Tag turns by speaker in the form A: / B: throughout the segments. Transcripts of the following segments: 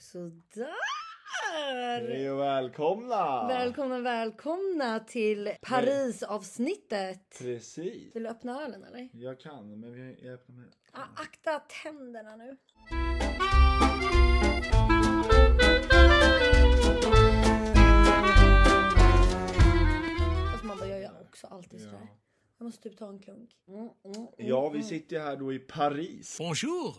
A: Sådär!
B: Hej och välkomna!
A: Välkomna, välkomna till Paris-avsnittet.
B: Precis.
A: Vill du öppna ölen eller?
B: Jag kan, men vi- jag öppnar med.
A: Ah, akta tänderna nu. Fast man bara, jag gör också alltid sådär. Jag måste typ ta en klunk. Mm, mm, mm.
B: Ja, vi sitter ju här då i Paris
C: Bonjour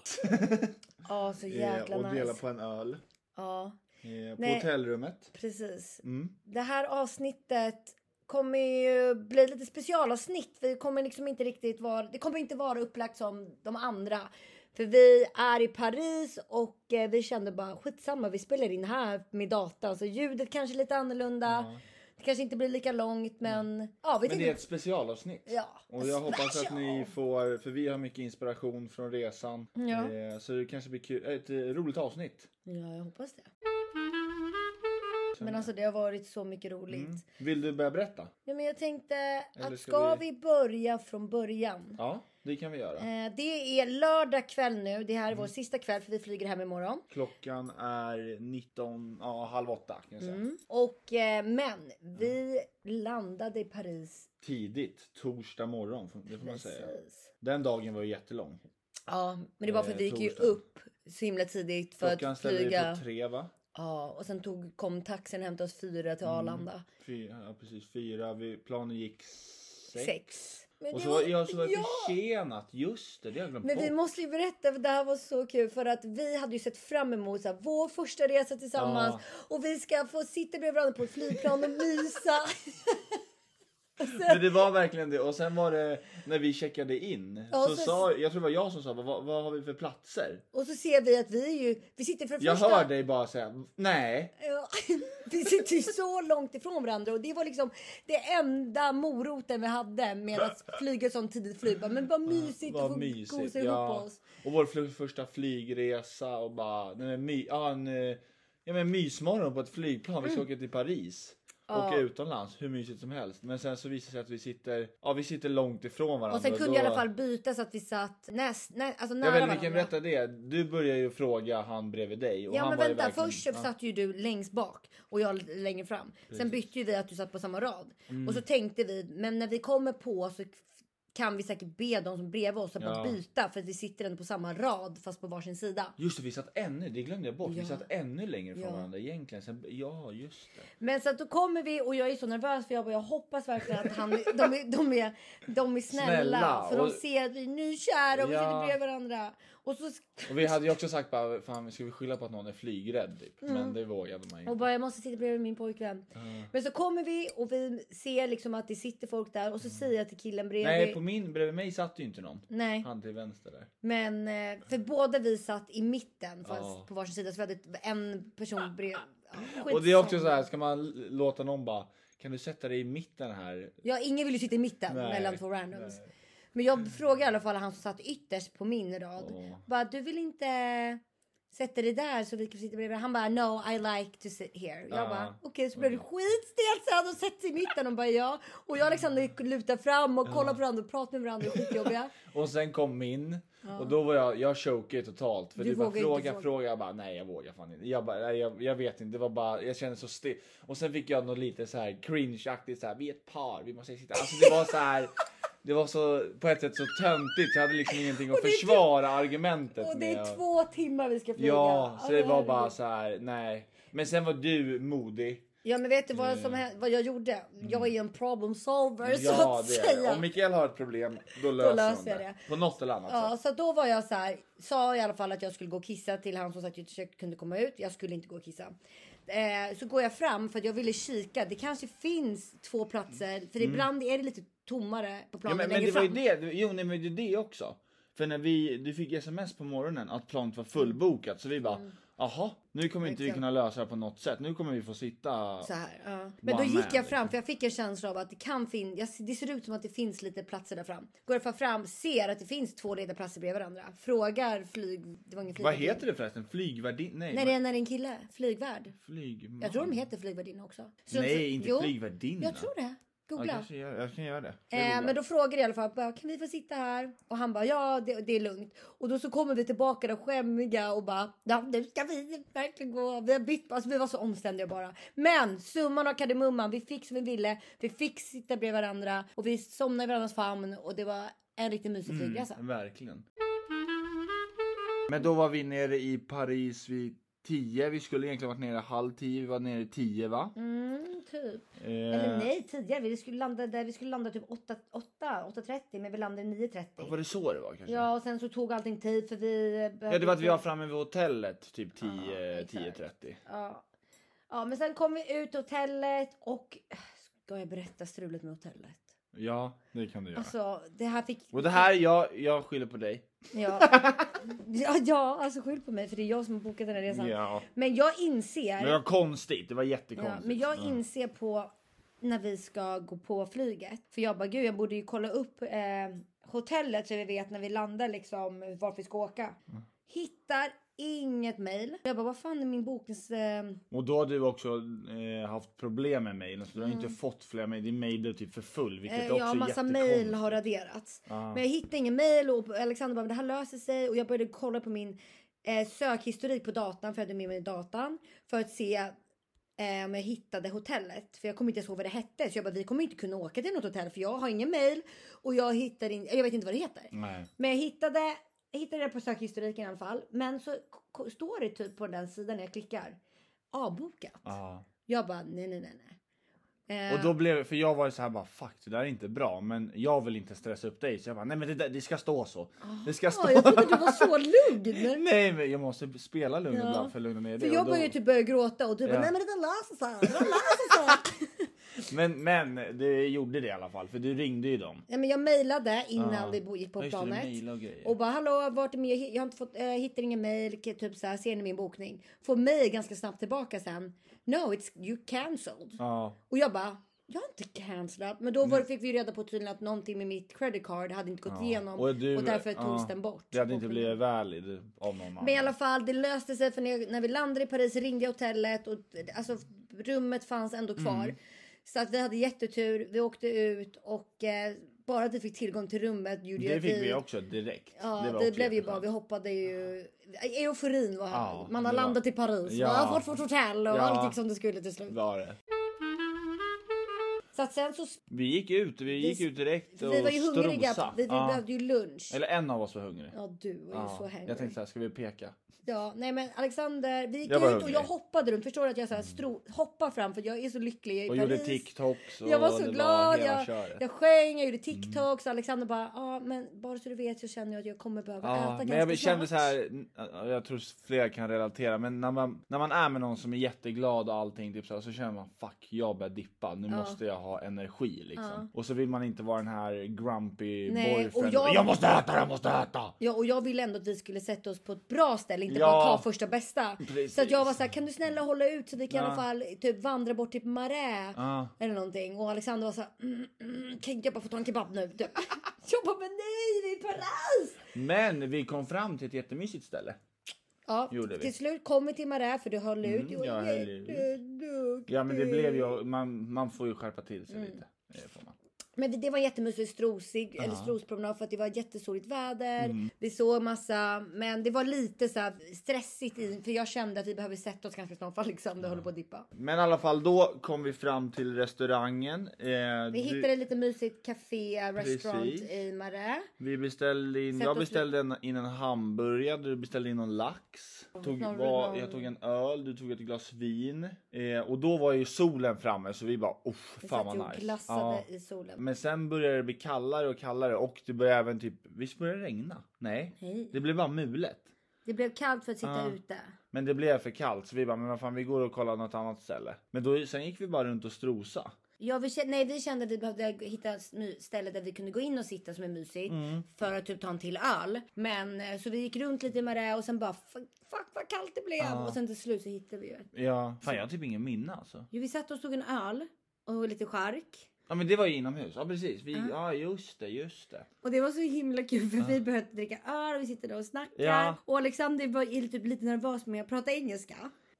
A: Ja, så
B: eh,
A: jäkla
B: och delar
A: nice.
B: på en öl.
A: Ja,
B: eh, På
A: Nej.
B: hotellrummet.
A: precis.
B: Mm.
A: Det här avsnittet kommer ju bli lite specialavsnitt. Vi kommer liksom inte riktigt vara... Det kommer inte vara upplagt som de andra. För vi är i Paris och eh, vi kände bara skitsamma, vi spelar in här med data. Så ljudet kanske är lite annorlunda. Det kanske inte blir lika långt men... Ja, vi
B: Mm. Men det är
A: tänkte...
B: ett specialavsnitt.
A: Ja,
B: Och jag
A: a
B: hoppas att
A: special.
B: ni får, för vi har mycket inspiration från resan.
A: Ja.
B: Eh, Så det kanske blir kul, ett eh, roligt avsnitt.
A: Ja, jag hoppas det. Men alltså det har varit så mycket roligt.
B: Vill du börja berätta?
A: Ja, men jag tänkte
B: Mm. Eller
A: att
B: ska
A: ska vi...
B: vi-
A: börja från början?
B: Ja, det kan vi göra.
A: Eh, det är lördag kväll nu. Det här är vår
B: Mm.
A: sista kväll för vi flyger hem imorgon.
B: Klockan är 19, ja halv åtta kan jag säga.
A: Mm. Och eh, men vi landade i Paris.
B: Tidigt, torsdag morgon, får- det får man säga.
A: Precis.
B: Den dagen var ju jättelång.
A: Ja, men det var för
B: Eh,
A: att vi gick ju
B: torsdag.
A: upp så himla tidigt för
B: Klockan
A: att
B: ställde vi
A: flyga.
B: på tre va?
A: Ja, och sen tog, kom taxin och hämtade oss fyra
B: Mm.
A: till Arlanda.
B: Fyra, ja, precis. Fyra. Vi, planen gick sex.
A: Sex. Men
B: Och
A: det
B: så var, ja, så var det
A: ja!
B: försenat. Just det, det har jag glömt
A: Men vi
B: bort.
A: måste ju berätta för det här var så kul för att vi hade ju sett fram emot så här, vår första resa tillsammans och vi ska få sitta bredvid varandra på ett flygplan och mysa.
B: Men det var verkligen det. Och sen var det när vi checkade in.
A: Ja,
B: så
A: så-
B: sa, jag tror det var jag som sa, vad, vad har vi för platser?
A: och så ser vi att vi är ju, vi sitter för det
B: Jag
A: första.
B: hör dig bara säga, nej.
A: Ja, vi sitter ju så långt ifrån varandra och det var liksom det enda moroten vi hade med att flyga ett sånt tidigt flyg. Bara, Men vad mysigt att
B: Vad
A: få
B: mysigt.
A: gosa ihop
B: Ja.
A: oss.
B: Och vår fl- första flygresa och bara, nej, men my, ja, en, eh, ja, men mysmorgon på ett flygplan. Vi ska
A: Mm.
B: åka till Paris. Åka utomlands, hur mysigt som helst. Men sen så visar det sig att vi sitter, ja vi sitter långt ifrån varandra.
A: Och sen kunde
B: då-
A: jag i alla fall byta så att vi satt näst, nä, alltså
B: Jag
A: nära
B: vet inte, vi
A: varandra.
B: kan berätta det. Du började ju fråga han bredvid dig. Och
A: Ja
B: han
A: men
B: var ju
A: vänta,
B: verkligen-
A: först så satt ju du längst bak och jag lite längre fram. Sen bytte ju vi att du satt på samma rad. Och så
B: Mm.
A: tänkte vi, men när vi kommer på så kan vi säkert be de som bredvid oss att bara
B: Ja.
A: byta för att vi sitter ändå på samma rad fast på varsin sida.
B: Just det, vi satt ännu, det glömde jag bort.
A: Ja.
B: Vi satt ännu längre från
A: Ja.
B: varandra egentligen. Sen, ja, just det.
A: Men så att då kommer vi och jag är så nervös för jag bara, jag hoppas verkligen att han, de, är, de, är, de är snälla.
B: Snälla,
A: För de
B: och-
A: ser att vi är nykära och vi
B: Ja.
A: sitter bredvid varandra. Och så
B: Och vi hade ju också sagt bara, fan ska vi skylla på att någon är flygrädd typ. Men det vågade man ju
A: Och
B: inte.
A: bara jag måste sitta bredvid min pojkvän. Men så kommer vi och vi ser liksom att det sitter folk där och så säger jag till killen bredvid.
B: Mm. Nej, på min, bredvid mig satt ju inte någon.
A: Nej.
B: Han till vänster där.
A: Men eh, för båda vi satt i mitten fast
B: Ja.
A: på varsin sida så vi hade ett- en person bredvid. Ja,
B: Och det är också
A: skitsamma.
B: så här, ska man l- låta någon bara, kan du sätta dig i mitten här?
A: Ja, ingen vill ju sitta i mitten
B: Nej,
A: mellan två randoms. Men jag frågade i alla fall han som satt ytterst på min rad.
B: Ja.
A: Bara, du vill inte sätta dig där så vi kan sitta bredvid? varandra?" Han bara, no I like to sit here. Jag
B: Ja. Mm.
A: bara, okej så blev det skitstelt så hade de sett sig i mitten och bara ja. Och jag liksom och
B: Mm.
A: Alexander lutar fram och kollar på varandra och pratar med varandra. Skitjobbiga.
B: Och sen kom min. Och då var jag, jag chokade totalt. För
A: Du
B: du, bara
A: vågar inte
B: fråga,
A: fråga.
B: fråga. Jag bara, nej jag vågar fan inte. Jag bara, nej, jag, jag vet inte. Det var bara, jag kände så stel. Och sen fick jag något lite så här cringe-aktigt så här, vi är ett par, vi måste sitta. Alltså det var så här. Det var så, på ett sätt så töntigt. Jag hade liksom ingenting att
A: det är typ-
B: försvara argumentet
A: Och det är
B: med.
A: två timmar vi ska flyga. Alltså,
B: Ja, så det var
A: herregud.
B: bara så här, nej. Men sen var du modig.
A: Ja men vet du vad, som, hä- vad jag gjorde? Jag är ju en problem solver så
B: Eh. Ja,
A: att
B: det är det.
A: säga.
B: Om Mikael har ett problem, då löser,
A: löser
B: hon
A: jag
B: det.
A: det.
B: På något eller annat
A: Ja,
B: sätt.
A: så att då var jag så här, sa i alla fall att jag skulle gå och kissa till han som sagt att jag kunde komma ut. Jag skulle inte gå och kissa. Eh, så går jag fram för att jag ville kika. Det kanske finns två platser för ibland är det lite tommare på
B: Mm. Ja,
A: planen
B: men, men
A: längre
B: det var ju
A: fram.
B: det, jo nej, men det är det också. För när vi, du fick sms på morgonen att planet var fullbokat så vi bara Jaha, nu kommer inte vi
A: Mm. Exakt.
B: kunna lösa det på något sätt. Nu kommer vi få sitta...
A: Så här, ja. Men då
B: Bara
A: gick
B: med,
A: jag fram för jag fick en känsla av att det kan finnas. Det ser ut som att det finns lite platser där fram. Går jag fram, ser att det finns två lediga platser bredvid varandra. Frågar flyg... Det var ingen
B: Vad
A: flygvärdinna.
B: heter det förresten? Flygvärdinna? Nej,
A: När det är när det är en kille. Flygvärd.
B: flygman.
A: Jag tror de heter flygvärdinna också. Så-
B: Mm. Nej,
A: så-
B: inte
A: jo,
B: flygvärdinna.
A: Jag tror det.
B: Ja,
A: Googla.
B: kanske jag, jag kan göra det. Jag
A: Eh,
B: googlar.
A: men då frågade jag i alla fall, bara, kan vi få sitta här? Och han bara, ja det, det är lugnt. Och då så kommer vi tillbaka där skämmiga och bara, ja nu ska vi verkligen gå. Vi har bytt, alltså vi var så omständiga bara. Men summan av kardemumman, vi fick som vi ville. Vi fick sitta bredvid varandra och vi somnade i varandras famn och det var en riktigt mysig
B: Mm.
A: flygresa.
B: Verkligen. Men då var vi nere i Paris vid 10. Vi skulle egentligen varit nere halv 10. Vi var nere i 10 va?
A: Mm, typ.
B: Eh,
A: Eller nej, tidigare. Vi skulle landa där vi skulle landa typ 8, 8, 8.30 men vi landade 9.30.
B: Var det så det var kanske?
A: Ja, och sen så tog allting tid för vi
B: Ja, det
A: behövde
B: var att vi var
A: inte-
B: framme vid hotellet typ 10,
A: Ja, exakt.
B: 10.30.
A: Ja. ja, men sen kom vi ut till hotellet och ska jag berätta strulet med hotellet?
B: Ja, det kan du göra.
A: Alltså, det här fick...
B: Och det här, jag, jag skyller på dig.
A: Ja, ja, ja alltså skyll på mig för det är jag som har bokat den här resan.
B: Ja.
A: Men jag inser...
B: Men det var konstigt, det var
A: ja,
B: jättekonstigt.
A: men jag
B: Ja.
A: inser på när vi ska gå på flyget. För jag bara, gud jag borde ju kolla upp eh, hotellet så vi vet när vi landar liksom vart vi ska åka.
B: Mm.
A: Hittar inget mejl. Jag bara, vad fan är min boknings... Eh,
B: Och då har du också eh, haft problem med mejlen så du har inte fått flera mejl. Din mejl är typ för full vilket
A: Mm. Eh,
B: också
A: Ja,
B: är
A: massa
B: jättekonstigt.
A: mejl har raderats.
B: Ah.
A: Men jag hittade ingen mejl och Alexander bara, "Men det här löser sig. Och jag började kolla på min eh, sökhistorik på datan, för jag hade med mig datan. För att se eh, om jag hittade hotellet. För jag kommer inte ens ihåg vad det hette. Så jag bara, vi kommer inte kunna åka till något hotell för jag har ingen mejl. Och jag hittar in, jag vet inte vad det heter.
B: Nej.
A: Men jag hittade, jag hittade det på sökhistoriken i alla fall. Men så k- står det typ på den sidan när jag klickar. Avbokat.
B: Ja.
A: Jag bara, nej nej nej nej. Eh,
B: Och då blev för jag var ju så här bara fuck det där är inte bra men jag vill inte stressa upp dig så jag bara nej men det, där, det ska stå så. Det ska stå.
A: Ja, Eh, jag trodde du var så lugn.
B: nej men jag måste spela lugn
A: Ja.
B: ibland för att lugna ner
A: För
B: dig. och
A: jag
B: då-
A: började typ börja gråta och du bara
B: Ja.
A: nej men det där löser sig. Det där löser sig.
B: Men, men det gjorde det i alla fall för du ringde ju dem.
A: nej, men jag mejlade innan
B: Ja.
A: vi bo- gick på
B: Ja, just det, du
A: planet.
B: mejlade och grejer.
A: Och bara hallå vart är min? Jag, jag har inte fått, eh, hittar ingen mejl. K- Typ så här, ser ni min bokning? Får mejl ganska snabbt tillbaka sen. No it's you cancelled.
B: Ja.
A: Och jag bara jag har inte cancellat. Men då var, fick vi ju reda på tydligen att någonting med mitt credit card hade inte gått igenom. Och,
B: Och du-
A: därför togs
B: ja.
A: den bort.
B: Det hade inte
A: Och-
B: blivit valid av någon annan.
A: Men i alla fall, det löste sig för när, när vi landade i Paris ringde jag hotellet och alltså, rummet fanns ändå kvar.
B: Mm.
A: Så att vi hade jättetur. Vi åkte ut och eh, bara att vi fick tillgång till rummet gjorde ju
B: det
A: att
B: fick vi också direkt.
A: Ja,
B: var
A: det
B: också
A: blev ju
B: jätteskönt.
A: bara, vi hoppade ju... Euforin var här.
B: Ja,
A: Man har
B: det var-
A: landat i Paris,
B: Ja.
A: man har fått vårt hotell och
B: Ja.
A: allt gick som det skulle till slut.
B: Var det.
A: Så att sen så...
B: Vi gick ut, vi gick
A: Vi-
B: ut direkt och
A: Vi var ju hungriga,
B: strosa.
A: vi, vi
B: Ja.
A: behövde ju lunch.
B: Eller en av oss var hungrig.
A: Ja, du var ju
B: Ja.
A: så hungry.
B: jag tänkte så här, ska vi peka?
A: Ja, nej men Alexander, vi gick
B: Jag
A: ut
B: var
A: och
B: hungrig.
A: jag hoppade runt. Förstår du att jag så här stro, hoppar fram för jag är så lycklig. Jag är i
B: Och
A: Paris.
B: gjorde TikToks och
A: Jag var
B: det
A: så glad.
B: hela
A: jag,
B: köret. Mm.
A: jag sjöng, jag gjorde TikToks. Alexander bara, ja men bara så du vet så känner jag att jag kommer behöva äta
B: Ja,
A: ganska
B: men jag kände
A: snart."
B: så här, jag tror fler kan relatera, men när man, när man är med någon som är jätteglad och allting typ så, här, så känner man fuck jag börjar dippa, nu måste jag ha energi liksom. Och så vill man inte vara den här grumpy
A: Nej, och
B: boyfriend.
A: jag-
B: Jag... måste äta, jag måste äta!
A: Ja, och jag ville ändå att vi skulle sätta oss på ett bra ställe, inte
B: Ja.
A: bara ta första bästa.
B: Precis.
A: Så att jag var så här, kan du snälla hålla ut så vi kan i alla
B: Ja.
A: fall typ vandra bort till Marais
B: Ja.
A: eller någonting. Och Alexander var så här, mm, mm, kan inte jag bara få ta en kebab nu? Typ. Jag bara, men nej, vi är i Paris!
B: Men vi kom fram till ett jättemysigt ställe.
A: Ja,
B: Gjorde vi. Mm,
A: till slut kom vi till Marais för du höll ut. Du var
B: jag höll ut.
A: jätteduktig.
B: Ja men det blev ju, man, man får ju skärpa till
A: Mm.
B: sig lite. Det får man.
A: Men det- det var en jättemysig strosig, eller strospromenad för att det var jättesoligt väder.
B: Mm.
A: Vi såg massa, men det var lite så här stressigt i, för jag kände att vi behöver sätta oss ganska snart för Alexander håller på att dippa.
B: Men i alla fall då kom vi fram till restaurangen. Eh,
A: Vi hittade lite mysigt café, restaurant
B: Precis.
A: i Marais.
B: Vi beställde in,
A: Sätt
B: jag
A: oss
B: beställde en, in en hamburgare, du beställde in någon lax. Tog,
A: någon-
B: var,
A: någon-
B: jag tog en öl, du tog ett glas vin. Eh, och då var ju solen framme så vi bara oh,
A: Vi
B: fan
A: satt ju
B: vad
A: och
B: nice.
A: glassade i solen.
B: Men sen började det bli kallare och kallare och det började även typ, visst började det regna? Nej.
A: Nej.
B: Det blev bara mulet.
A: Det blev kallt för att sitta
B: Ja.
A: ute.
B: Men det blev för kallt så vi bara, men vad fan vi går och kollar något annat ställe. Men då, sen gick vi bara runt och strosa.
A: Ja, vi kände, nej, vi kände att vi behövde hitta ett my- ställe där vi kunde gå in och sitta som är mysigt
B: Mm.
A: för att typ ta en till öl. Men eh, så vi gick runt lite med det och sen bara fuck, fuck vad kallt det blev och sen till slut så hittade vi ju ett.
B: Ja. Fan jag har typ ingen minne alltså.
A: Jo, vi satt och tog en öl och lite skärk
B: Ja men det var ju inomhus, ja precis. Vi, Ja just det, just det.
A: och det var så himla kul för vi behövde dricka öl och vi sitter där och snackar
B: Ja.
A: och Alexander var är typ lite nervös med att prata engelska.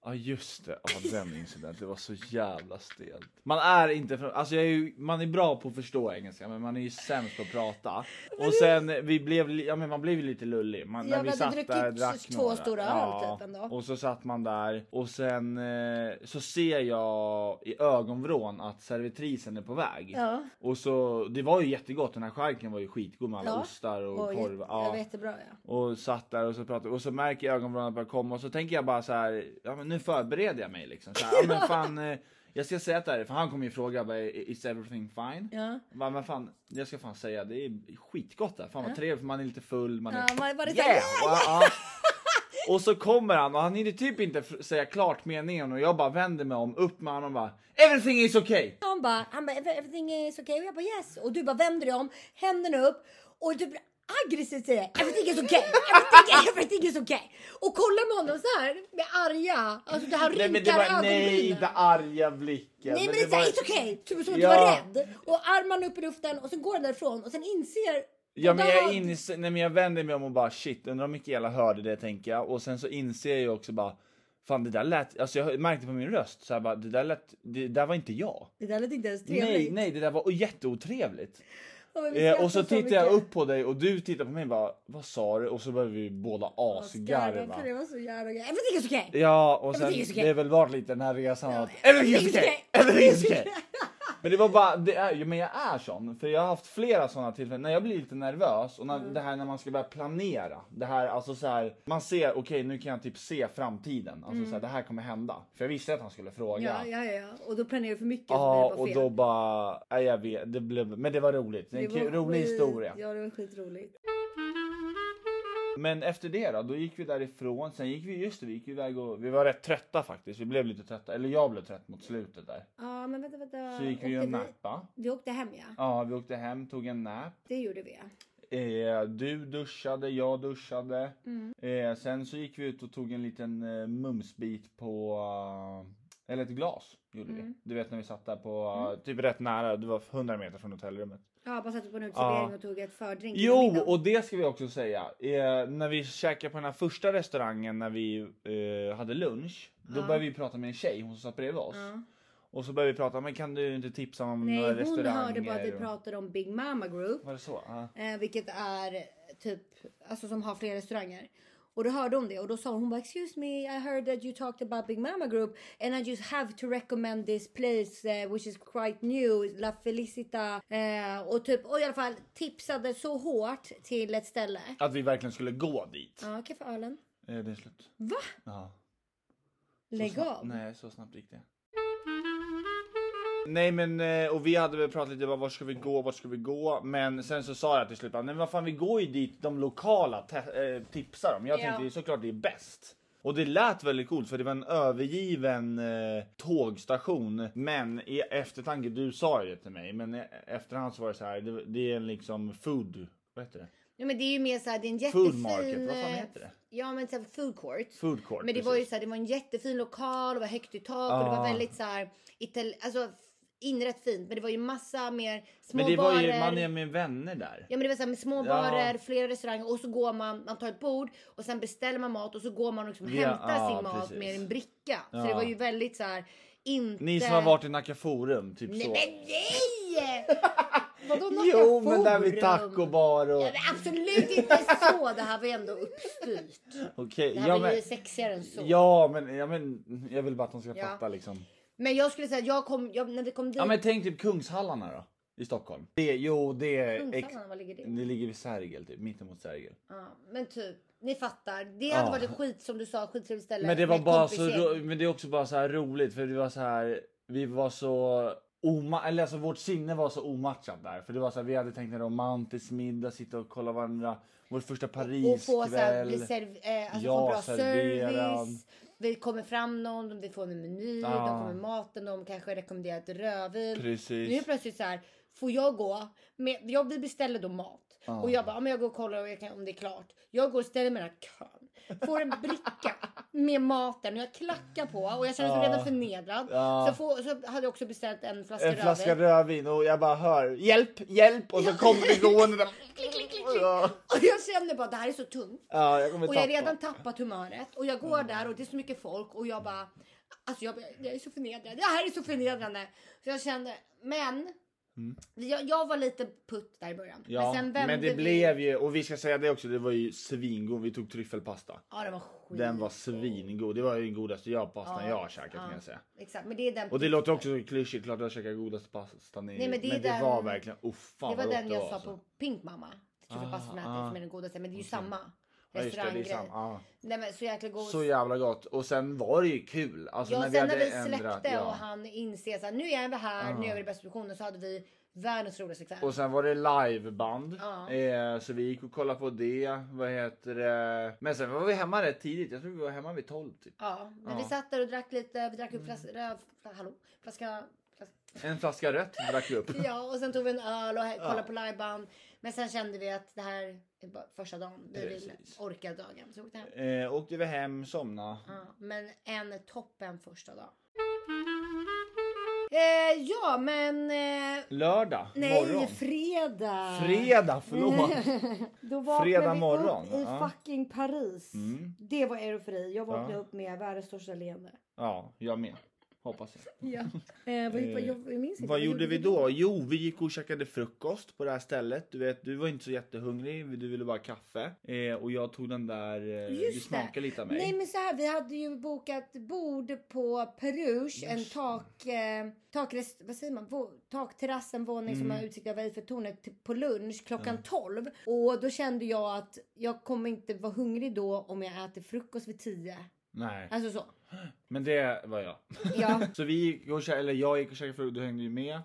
B: Ja just det, ja, den incidenten, det var så jävla stelt. Man är inte från, alltså jag är ju, man är bra på att förstå engelska men man är ju sämst på att prata. Och sen vi blev, li- ja men man blev ju lite lullig. Man,
A: Ja,
B: när vi
A: vi hade
B: satt
A: druckit
B: där drack
A: två
B: några.
A: stora öl typ ändå.
B: Och så satt man där och sen eh, så ser jag i ögonvrån att servitrisen är på väg.
A: Ja.
B: Och så, det var ju jättegott, den här charken var ju skitgod med alla
A: Ja.
B: ostar och,
A: Och
B: korv.
A: jätte-
B: Ja.
A: det var jättebra ja.
B: Och satt där och så pratade och så märker jag ögonvrån att börjar komma och så tänker jag bara så här, ja men nu förbereder jag mig liksom. Så här, ja men fan, eh, jag ska säga att det här, är- för han kommer ju fråga bara, is everything fine?
A: Ja.
B: Bara, men fan, jag ska fan säga det är skitgott där, fan vad trevligt för man är lite full, man är...
A: Ja, man är bara så här,
B: yeah! Ja, ja. Och så kommer han och han hinner typ inte f- säga klart meningen och jag bara vänder mig om, upp med honom och bara Everything is okay!
A: Han bara, han bara, everything is okay. Och jag bara yes. Och du bara vänder dig om, händerna upp och du aggressivt säger everything is okay, everything, everything is okay. Och kollar med honom så här med arga, alltså det här
B: Nej men det
A: rynkar
B: var, nej,
A: ögonbrynen.
B: inte arga blicken.
A: Nej men det är
B: det
A: såhär,
B: var-
A: it's okay! Typ som att
B: Ja.
A: du var rädd. Och armarna upp i luften och sen går han därifrån och sen inser...
B: Ja men jag,
A: Vad?
B: inser, nej, men jag vänder mig om och bara shit, undrar om Mikaela hörde det tänker jag. Och sen så inser jag också bara, fan det där lät, alltså jag märkte på min röst så här bara, det där lät, det där var inte jag.
A: Det där lät inte ens
B: Nej,
A: trevligt.
B: nej det där var jätteotrevligt.
A: Ja, men vi
B: Eh, och så
A: skrattade
B: tittar jag
A: mycket.
B: upp på dig och du tittar på mig och bara, vad sa du? Och så börjar vi båda asgarva.
A: För det var så jävla... Everything is okay!
B: Ja och sen,
A: Everything is okay.
B: det har väl varit lite den här resan att
A: everything
B: everything
A: is
B: is okay,
A: okay.
B: everything is okay. Men det var bara, det är, ju- men jag är sån. För jag har haft flera såna tillfällen när jag blir lite nervös och när,
A: Mm.
B: det här när man ska börja planera. Det här alltså så här, man ser okej nu kan jag typ se framtiden. Alltså så här, det här kommer hända. För jag visste att han skulle fråga.
A: Mm. Ja, ja, ja. Och då planerar du för mycket
B: Ja,
A: så
B: och
A: blir det bara fel.
B: då bara, nej jag vet, det blev, men det var roligt. Det är en
A: Det var
B: kul- rolig
A: skit-
B: historia.
A: Ja, det var skitroligt.
B: Men efter det då, då gick vi därifrån. Sen gick vi, just det, vi gick iväg och vi var rätt trötta faktiskt. Vi blev lite trötta, eller jag blev trött mot slutet där.
A: Ja, men vänta, vänta.
B: Så gick vi och
A: Åkte
B: nappa.
A: Vi åkte hem ja.
B: Ja, vi åkte hem, tog en nap.
A: Det gjorde vi. ja.
B: Eh, du duschade, jag duschade.
A: Mm.
B: Eh, sen så gick vi ut och tog en liten eh, mumsbit på... eh, eller ett glas gjorde
A: Mm.
B: vi. Du vet när vi satt där på... eh, Typ rätt nära, det var 100 meter från hotellrummet.
A: Ja, bara satt på en uteservering och tog ett fördrink. innan
B: Jo,
A: middagen.
B: och det ska vi också säga. Eh, när vi käkade på den här första restaurangen när vi eh, hade lunch. Då började vi prata med en tjej, hon som satt bredvid oss. Och så började vi prata, men kan du inte tipsa om
A: Nej,
B: några
A: hon
B: restauranger?
A: hörde bara att vi
B: och-
A: pratade om Big Mama Group.
B: Var det så? Ja.
A: Eh, vilket är typ, alltså som har flera restauranger. Och då hörde hon det och då sa hon, hon bara excuse me I heard that you talked about Big Mama Group and I just have to recommend this place eh, which is quite new, La Felicita. Eh, och typ, och i alla fall tipsade så hårt till ett ställe.
B: Att vi verkligen skulle gå dit.
A: Ja, okej för ölen.
B: Eh, det är slut.
A: Va?
B: Ja. Så
A: Lägg
B: snabbt-
A: av.
B: Nej, så snabbt gick det. Nej men eh, och vi hade väl pratat lite bara vart ska vi gå, vart ska vi gå? Men sen så sa jag till slut bara, nej men vad fan vi går ju dit de lokala te- eh, tipsar om. Jag
A: Ja.
B: tänkte ju såklart det är bäst. Och det lät väldigt coolt för det var en övergiven eh, tågstation. Men i eftertanke, du sa ju det till mig, men i efterhand så var det så här, det, det är en liksom food, vad heter det?
A: Ja, men det är ju mer såhär, det är en jättefin...
B: Food market, vad fan
A: eh,
B: heter det?
A: Ja men såhär food court.
B: Food court,
A: Men det var ju
B: precis.
A: såhär, det var en jättefin lokal, det var högt i tak och det var
B: Ah.
A: väldigt såhär, ital- alltså inrätt fint. Men det var ju massa mer små
B: Men det var
A: barer.
B: ju, man är med vänner där.
A: Ja men det var såhär med små
B: Ja.
A: barer, flera restauranger och så går man, man tar ett bord och sen beställer man mat och så går man och liksom
B: Ja,
A: hämtar
B: ja,
A: sin mat
B: precis.
A: med en bricka. Så
B: Ja.
A: det var ju väldigt såhär, inte...
B: Ni som har varit i Nacka Forum, typ
A: Nej
B: så.
A: men nej! Vadå Nacka
B: Jo, men där vid
A: Forum?
B: tacobar och...
A: Ja, men absolut inte så. Det här var ju ändå uppstyrt.
B: Okej,
A: Det här
B: ja,
A: var
B: men...
A: ju sexigare än så.
B: Ja men, ja men jag vill bara att de ska
A: Ja. Mm.
B: fatta liksom.
A: Men jag skulle säga att jag kom, jag, när vi kom dit.
B: Ja men tänk typ Kungshallarna då. I Stockholm. Det, jo det är... Ex...
A: Kungshallarna, var ligger det?
B: Det ligger vid Sergel typ, mittemot Sergel.
A: Ja, men typ, ni fattar. Det hade
B: Ja.
A: varit ett skit som du sa, skittrevligt ställe.
B: Men det var
A: med
B: bara så,
A: kompisgäng.
B: ro- men det är också bara så här roligt för det var så här, vi var så oma, eller alltså vårt sinne var så omatchat där. För det var så här, vi hade tänkt en romantisk middag, sitta och kolla varandra, vår första
A: Och få
B: Pariskväll.
A: så här, bli serv- eh, alltså
B: Ja,
A: få bra
B: serverad.
A: service. Vi kommer fram någon, vi får en meny,
B: Ja.
A: de får med maten, de kanske rekommenderar ett rödvin. Nu är det
B: Precis.
A: plötsligt så här, får jag gå? Med, jag, vi beställer då mat.
B: Ja.
A: Och jag bara, ja, men jag går och kollar och jag kan, om det är klart. Jag går och ställer mig i den här kön. Får en bricka med maten och jag klackar på och jag känner mig
B: Ja.
A: redan förnedrad.
B: Ja.
A: Så, får, så hade jag också beställt en flaska
B: En flaska
A: rödvin.
B: rödvin och jag bara hör hjälp, hjälp och så kommer det gående där. Ja.
A: Och jag känner bara, det här är så tungt.
B: Ja, jag kommer
A: Och jag har
B: tappa.
A: redan tappat humöret och jag
B: Mm.
A: går där och det är så mycket folk och jag bara Alltså jag, jag är så förnedrad. Det här är så förnedrande. Så jag kände, men. Jag, jag var lite putt där i början.
B: Mm. Ja,
A: sen
B: men,
A: vände
B: det
A: vi-
B: blev ju, och vi ska säga det också, det var ju svingod. Vi tog tryffelpasta.
A: Ja, det var skit.
B: Den var svingod. Det var ju den godaste jag pastan
A: Ja,
B: jag har käkat kan
A: ja.
B: jag säga.
A: Exakt, men det är den.
B: Och det låter också så klyschigt, klart jag käkar godaste pastan i
A: Nej, men det är
B: men det
A: den-
B: var verkligen, oh fan
A: det var
B: vad
A: den
B: gott det
A: jag
B: var,
A: sa
B: alltså.
A: på Pink Mamma. Tryffelpasta som jag
B: ah.
A: ätit som är den godaste. Men det är ju samma
B: Ja, just det, det är
A: restauranggrej.
B: samma, ja.
A: Nej men så jäkla god.
B: Så jävla gott. Och sen var det ju kul. Alltså,
A: Ja,
B: när vi
A: sen när
B: hade
A: vi släppte
B: ändrat, ja. Ah.
A: och han inser så här, nu är vi här, nu är vi i bästa positionen. Så hade vi världens roligaste kväll.
B: Och sen var det liveband.
A: Ja.
B: Eh, så vi gick och kollade på det. Vad heter det? Men sen var vi hemma rätt tidigt. Jag tror vi var hemma vid 12 typ.
A: Ja, men vi
B: Ja. Mm.
A: satt där och drack lite. Vi drack upp flas- röv, fla- hallå, flaska, flaska.
B: En flaska rött drack vi upp.
A: Ja, och sen tog vi en öl och he- kollade på liveband. Men sen kände vi att det här är bara första dagen. Vi vill
B: Precis.
A: orka dagen. Så vi åkte hem.
B: Eh, åkte vi hem, somna.
A: Ja, men en toppen första dag. Eh, ja, men... Eh,
B: Lördag
A: nej,
B: morgon.
A: fredag.
B: Fredag, förlåt.
A: Då vaknade
B: Fredag
A: vi
B: morgon,
A: upp i
B: ja.
A: fucking Paris.
B: Mm.
A: Det var eufori. Jag vaknade
B: Ja.
A: upp med världens största leende.
B: ja, jag med. Hoppas jag.
A: Ja. Eh, vad, vad, jag, jag minns inte.
B: Vad gjorde vi då? Jo, vi gick och käkade frukost på det här stället. Du vet, du var inte så jättehungrig. Du ville bara kaffe. Eh, och jag tog den där... Eh, du
A: Just det.
B: smakade lite av mig.
A: Nej men så här, vi hade ju bokat bord på Peruge, en tak, eh, takrest, vad säger man? Vå- takterrass, en våning
B: Mm.
A: som har utsikt över Eiffeltornet till- på lunch klockan 12. Och då kände jag att jag kommer inte vara hungrig då om jag äter frukost vid 10.
B: Nej,
A: Alltså så.
B: men det var jag.
A: Ja.
B: Så vi gick och käkade, eller jag gick och käkade frukost, du hängde ju med.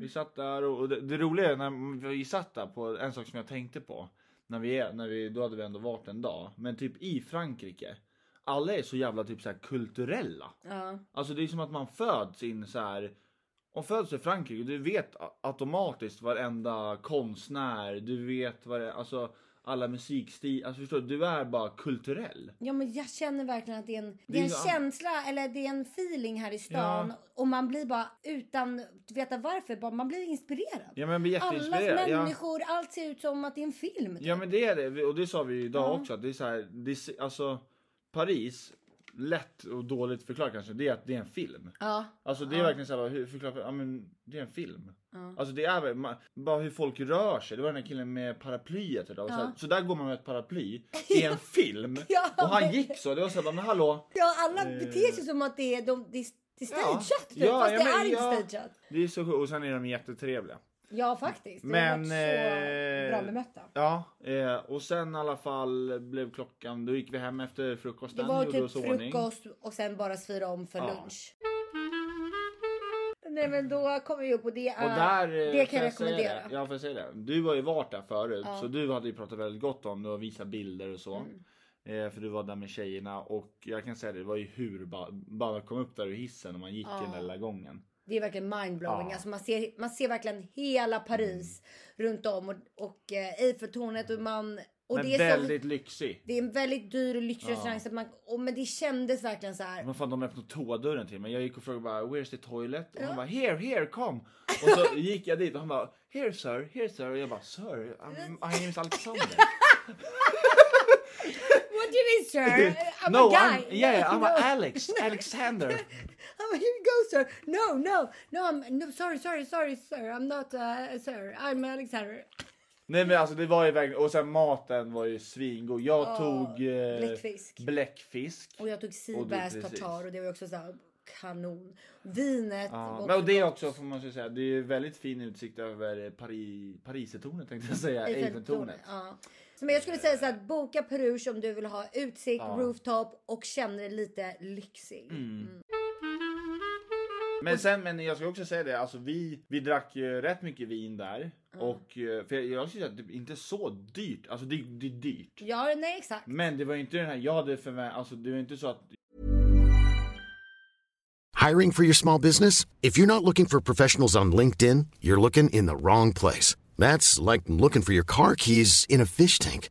B: Vi satt där och, och det, det roliga är när vi satt där på en sak som jag tänkte på. När vi är, när vi, då hade vi ändå varit en dag. Men typ i Frankrike. Alla är så jävla typ så här kulturella.
A: ja.
B: Alltså det är som att man föds in så här. Om föds i Frankrike, du vet a- automatiskt varenda konstnär, du vet vad det, alltså alla musikstil, alltså förstår du, du är bara kulturell.
A: Ja men jag känner verkligen att det är en, det
B: Det
A: är
B: är
A: en
B: ju-
A: känsla eller det är en feeling här i stan. Och man blir bara utan att veta varför, bara, man blir inspirerad.
B: Ja men jag blir
A: Allas
B: jätteinspirerad. Ja.
A: människor, allt ser ut som att det är en film.
B: Ja men det är det Vi- och det sa vi ju idag också att det är så här, det är, se- alltså Paris, lätt och dåligt förklarat kanske, det är att det är en film.
A: Ja.
B: Alltså det är verkligen så här, hur förklarar ja men det är en film. Alltså det är väl, man, bara hur folk rör sig. Det var den här killen med paraplyet idag. och Så, här, så där går man med ett paraply i en film.
A: Ja,
B: och han
A: men-
B: gick så, det var såhär men hallå.
A: Ja, alla beter sig som att det är, de, det är, det är stageat typ,
B: Eh. Ja,
A: fast
B: ja,
A: det är
B: men ja.
A: inte stageat.
B: Det är så sjukt. och sen är de jättetrevliga.
A: Ja, faktiskt. De har
B: Men,
A: varit
B: eh,
A: så bra bemötta.
B: Ja, eh, och sen i alla fall blev klockan, då gick vi hem efter
A: Det
B: frukosten.
A: var
B: gjorde
A: typ
B: oss i ordning.
A: frukost och sen bara svira om för
B: Ja.
A: lunch. Nej men då kommer vi upp och det är...
B: Och där, eh,
A: det kan jag
B: säga
A: rekommendera.
B: Det. Ja, får jag säga det? Du har ju varit där förut så du hade ju pratat väldigt gott om det och visat bilder och så.
A: Mm.
B: Eh, för du var där med tjejerna och jag kan säga det, det var ju hur ba- bara man kom upp där ur hissen och man gick i den där lilla gången.
A: Det är verkligen mindblowing.
B: Ja. Mm.
A: Alltså man, ser, man ser verkligen hela Paris runt om och, och eh, Eiffeltornet och man... Och
B: Men
A: det, är
B: väldigt
A: så,
B: lyxig.
A: det är en väldigt dyr och lyxig restaurang. Så att man, och, men det kändes verkligen så här.
B: Vad fan de öppnade toadörren till mig. Jag gick och frågade bara where's the toilet? Och han bara here, here, come! Och så gick jag dit och han bara here sir, here sir. Och jag bara sir, I'm, my name is Alexander.
A: What do you mean sir? I'm
B: no,
A: a guy.
B: I'm, yeah, I'm
A: No.
B: Alex, Alexander.
A: Oh, here you go, sir. No, no, no. I'm no. Sorry, sorry, sorry, sir. I'm not, uh, sir. I'm Alexander.
B: Nej men alltså det var ju verkligen, och sen maten var ju svingod. Jag tog eh,
A: bläckfisk.
B: bläckfisk.
A: Och jag tog
B: Och du-
A: Seabass
B: precis.
A: tartar och det var ju också så här kanon. Vinet.
B: Ja,
A: var
B: men och det är
A: gott.
B: också får man ju säga, det är ju väldigt fin utsikt över Paris, Parisertornet tänkte jag säga,
A: Eiffeltornet,
B: Eiffeltornet.
A: Ja. Så men jag skulle säga så att boka Peruge om du vill ha utsikt, rooftop och känner dig lite lyxig.
B: Mm. Men sen, men jag ska också säga det, alltså vi, vi drack ju rätt mycket vin där. Och eh, för jag, jag skulle säga att det är inte så dyrt, alltså det, det är dyrt.
A: Ja, nej exakt.
B: Men det var ju inte den här, jag hade förväntat, alltså det var inte så att
D: Hiring for your small business? If you're not looking for professionals on LinkedIn, you're looking in the wrong place. That's like looking for your car keys in a fish tank.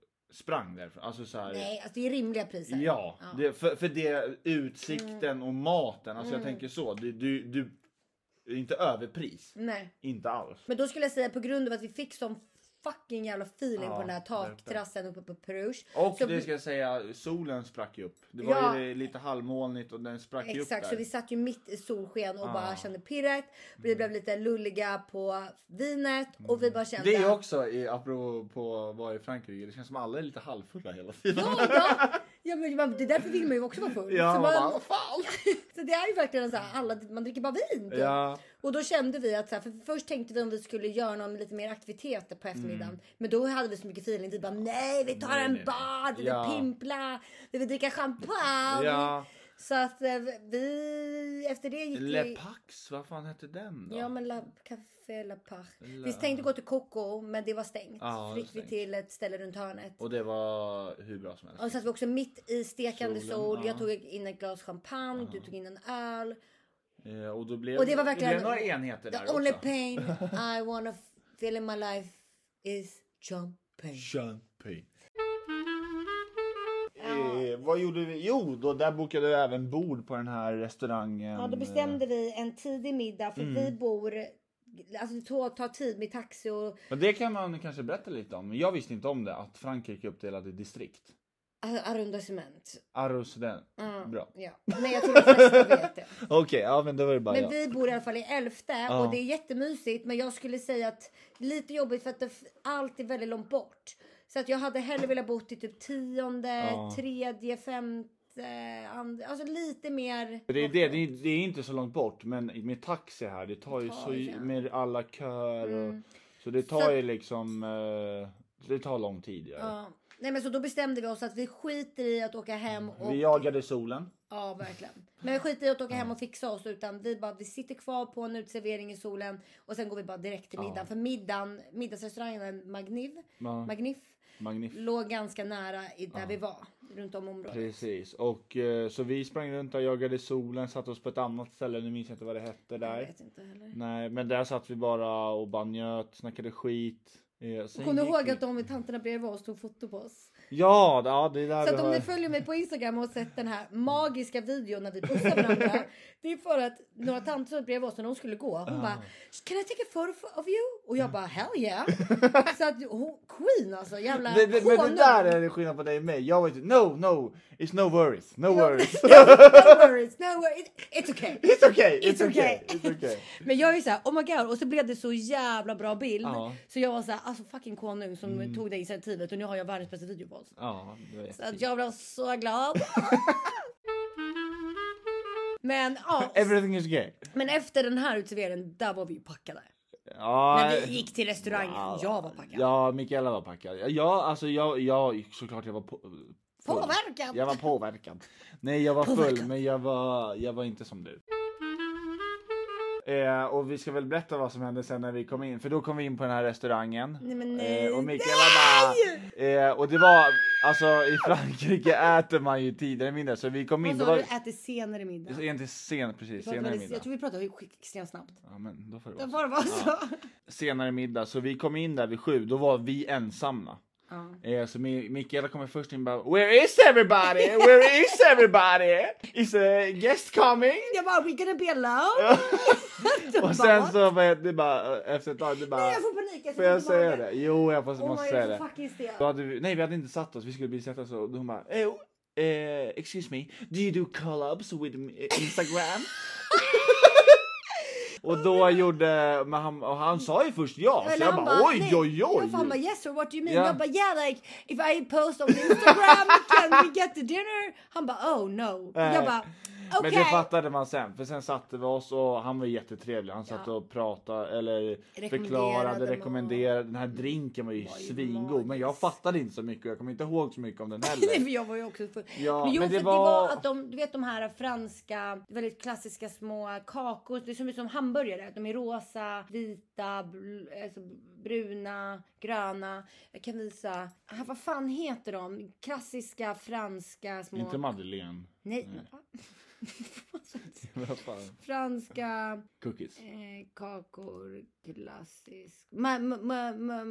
B: sprang därifrån. Alltså så här,
A: Nej, alltså det är rimliga priser.
B: Ja, Det, för, för det utsikten
A: Mm.
B: och maten. Alltså jag tänker så. Du, du, du, inte överpris.
A: Nej.
B: Inte alls.
A: Men då skulle jag säga på grund av att vi fick sån fucking jävla feeling
B: Ja,
A: på den här takterrassen uppe på Peruge.
B: Och
A: så,
B: det ska jag säga, solen sprack ju upp. Det var
A: Ja.
B: ju lite halvmolnigt och den sprack ju upp
A: Exakt, så
B: där. Ah. Mm.
A: vi satt ju mitt i solsken och bara kände pirret. Vi blev lite lulliga på vinet och vi bara kände...
B: Det är också, i, apropå på att vara i Frankrike, det känns som alla är lite halvfulla hela tiden.
A: Ja, ja. ja men man, det är därför vill man ju också vara full.
B: Ja,
A: så,
B: man bara, "Vad
A: så det är ju verkligen så här, alla, man dricker bara vin. typ.
B: Ja.
A: Och då kände vi att så här, för först tänkte vi om vi skulle göra någon lite mer aktiviteter på eftermiddagen. Men då hade vi så mycket feeling. Vi bara nej, vi tar en
B: Mm. nej.
A: bar, vi
B: Ja.
A: vill pimpla, vi vill dricka champagne.
B: Ja.
A: Så att eh, vi efter det gick
B: Le
A: vi...
B: Pax, vad fan hette den då?
A: Ja men la, Café La Pach. Vi tänkte gå till Coco men det var stängt.
B: Ja,
A: så
B: det
A: gick
B: var
A: vi till ett ställe runt hörnet.
B: Och det var hur bra som helst.
A: Och så satt vi också mitt i stekande
B: Solen,
A: sol. Jag
B: ja.
A: tog in ett glas champagne, du tog in en öl.
B: Eh, och, då blev,
A: Och det var verkligen...
B: blev några enheter där
A: The only
B: också.
A: pain I wanna feel in my life is champagne.
B: Champagne. Eh, vad gjorde vi? Jo, då där bokade vi även bord på den här restaurangen.
A: Ja, då bestämde vi en tidig middag för
B: Mm.
A: vi bor... Alltså det tar- tar tid med taxi och...
B: Men det kan man kanske berätta lite om. Jag visste inte om det, att Frankrike är uppdelat i distrikt.
A: ar- Arrondissement.
B: Arrosden. Bra.
A: Ja. Men jag tror de flesta vet det.
B: Okej, ja men då var det bara
A: Men
B: jag.
A: vi bor i alla fall i elfte
B: Ja.
A: och det är jättemysigt. Men jag skulle säga att lite jobbigt för att det, f- allt är väldigt långt bort. Så att jag hade hellre velat bo i typ tionde, tredje, femte, and, alltså lite mer.
B: Det är, det, det, är, det är inte så långt bort, men med taxi här, det tar ju så med alla köer och så det tar
A: Mm. Så-
B: ju liksom, eh, det tar lång tid. gör det.
A: Ja. Nej men så då bestämde vi oss att vi skiter i att åka hem och...
B: Mm, Vi jagade solen.
A: Ja verkligen. Men vi skiter i att åka hem och fixa oss utan vi bara vi sitter kvar på en uteservering i solen och sen går vi bara direkt till middagen. För middagen, middagsrestaurangen Magniv,
B: Ja.
A: Magnif
B: Magnif.
A: låg ganska nära i, där vi var runt om området.
B: Precis, och eh, så vi sprang runt och jagade solen, satte oss på ett annat ställe, nu minns jag inte vad det hette
A: Jag
B: där.
A: vet inte heller.
B: Nej, men där satt vi bara och bara njöt, snackade skit. Eh, sen
A: Kommer du
B: gick
A: ihåg
B: vi-
A: att de tanterna bredvid oss tog foto på oss?
B: Ja, ja, det är där
A: Så
B: vi
A: att om
B: har-
A: ni följer mig på Instagram och har sett den här magiska videon när vi pussar varandra. det är för att några tanter som bredvid oss när de skulle gå.
B: Ah.
A: Hon bara Can I take a photo of you? Och jag bara hell yeah. så att hon, Queen alltså jävla
B: Det, det, men det
A: konung.
B: där är det skillnad på dig och mig. Jag var ju no, no, it's no worries, no worries.
A: No worries, no worries. It's okay.
B: It's okay, it's,
A: It's
B: okay.
A: okay.
B: it's okay.
A: Men jag är ju såhär oh my god och så blev det så jävla bra bild.
B: Ja. Mm.
A: Så jag var såhär alltså fucking konung som tog det initiativet och nu har jag världens bästa video på oss.
B: Ja, det var
A: Så att
B: jättefint.
A: jag blev så glad. Men ja,
B: Everything is gay.
A: men efter den här uteserveringen, där var vi ju packade.
B: Ja,
A: När vi gick till restaurangen, jag var packad.
B: Ja, Mikaela var packad. Ja, alltså jag, jag såklart jag var på, full.
A: Påverkad.
B: Jag var påverkad. Nej, jag var full,
A: Påverkad.
B: men jag var, jag var inte som du. Eh, och vi ska väl berätta vad som hände sen när vi kom in, för då kom vi in på den här restaurangen.
A: Nej, men nej.
B: Eh, och Mikaela bara... Eh, och det var, alltså i Frankrike äter man ju tidigare middag, så vi kom
A: Vad
B: in, det
A: sa
B: var...
A: du? Äter senare middag.
B: Egentligen sen, precis,
A: Pratade
B: senare
A: väldigt-
B: middag.
A: Jag tror vi pratade extremt snabbt.
B: Ja, men då får det
A: Det var
B: vara.
A: bara så.
B: senare middag, så vi kom in där vid sju, då var vi ensamma. Eh, så Mi- Mikaela kommer först in och bara Where is everybody? Where is everybody? Is a guest coming?
A: Jag bara, we gonna be alone?
B: och sen så vad heter det bara eh, efter ett tag det bara
A: Nej, jag får panik, jag
B: Får jag
A: sitter i
B: säga
A: magen.
B: det? Jo jag måste,
A: Oh
B: måste
A: my,
B: säga
A: jag är
B: det.
A: så fucking stel.
B: Då hade vi, nej vi hade inte satt oss, vi skulle bli satta så och hon bara eh, oh, eh, excuse me, do you do collabs with eh, Instagram? och då gjorde, men han, och han sa ju först ja, så
A: Eller
B: Alltså, jag
A: han
B: bara oj
A: nej.
B: oj oj.
A: Jag bara, han bara yes sir what do you mean?
B: Ja.
A: Jag bara yeah like if I post on Instagram can we get the dinner? Han bara oh no. Jag
B: Nej.
A: bara
B: Men
A: okej.
B: det fattade man sen, för sen satte vi oss och han var jättetrevlig. Han satt och pratade eller
A: mat.
B: förklarade, rekommenderade. Den här drinken var ju svingod, men jag
A: magisk.
B: fattade inte så mycket och jag kommer inte ihåg så mycket om den
A: Nej,
B: heller.
A: för jag var ju också full.
B: Ja,
A: men jo,
B: men
A: för
B: det
A: det var
B: var-
A: att de, du vet de här franska, väldigt klassiska små kakor. Det ser ut som hamburgare. De är rosa, vita, bl- alltså bruna, gröna. Jag kan visa. Ah, vad fan heter de? Klassiska franska små...
B: inte Mm. Madeleine.
A: Nej.
B: Vad fan?
A: franska
B: Cookies.
A: eh, kakor, klassisk. Ma, ma, ma, ma,